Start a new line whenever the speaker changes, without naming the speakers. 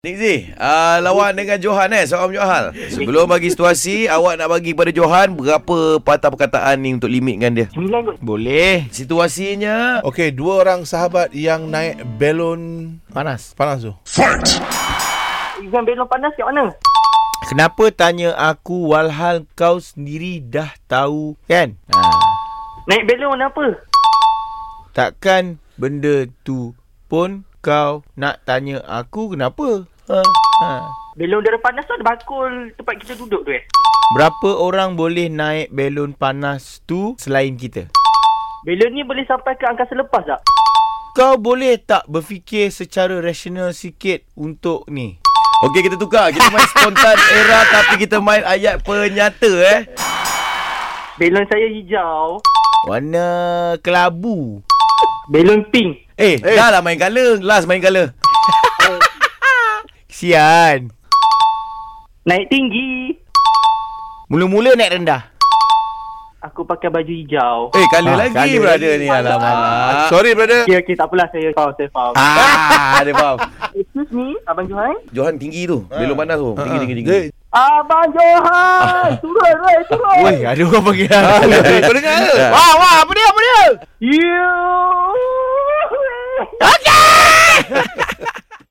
Nik Z, uh, lawan dengan Johan eh, seorang Johan. Sebelum bagi situasi, awak nak bagi pada Johan berapa patah perkataan ni untuk limitkan dia?
Sembilan kot.
Boleh.
Situasinya
Okey, dua orang sahabat yang naik belon
Panas.
panas tu.
Exam belon panas kat mana?
Kenapa tanya aku walhal kau sendiri dah tahu kan? Ha.
Ah.
Naik belon warna apa?
Takkan benda tu pun kau nak tanya aku kenapa?
Ah.
Ha. ha.
Belon udara panas tu ada bakul tempat kita duduk tu eh.
Berapa orang boleh naik belon panas tu selain kita?
Belon ni boleh sampai ke angkasa lepas tak?
Kau boleh tak berfikir secara rasional sikit untuk ni?
Okey kita tukar Kita main spontan era Tapi kita main ayat penyata eh
Belon saya hijau.
Warna kelabu.
Belon pink.
Eh,
Eh dah lah main color Last main color
kesian.
Naik tinggi.
Mula-mula naik rendah.
Aku pakai baju hijau.
Eh color
Ah,
lagi
colour
brother
lagi. Ah.
ni Alamak
Sorry brother.
Okay, okay, Ya, tak apalah. Saya faham, saya faham.
Ah dia faham
Excuse me, Abang Johan.
Johan tinggi tu
Ah.
Belum panas tu Tinggi tinggi tinggi
Dia-
Abang Johan! Turun, Roy, turun!
Woi, ada orang panggil
Eh,
aku.
Kau
Ya.
Ah.
dengar ke?
Wah, wah, apa dia, apa dia?
You!
Okey!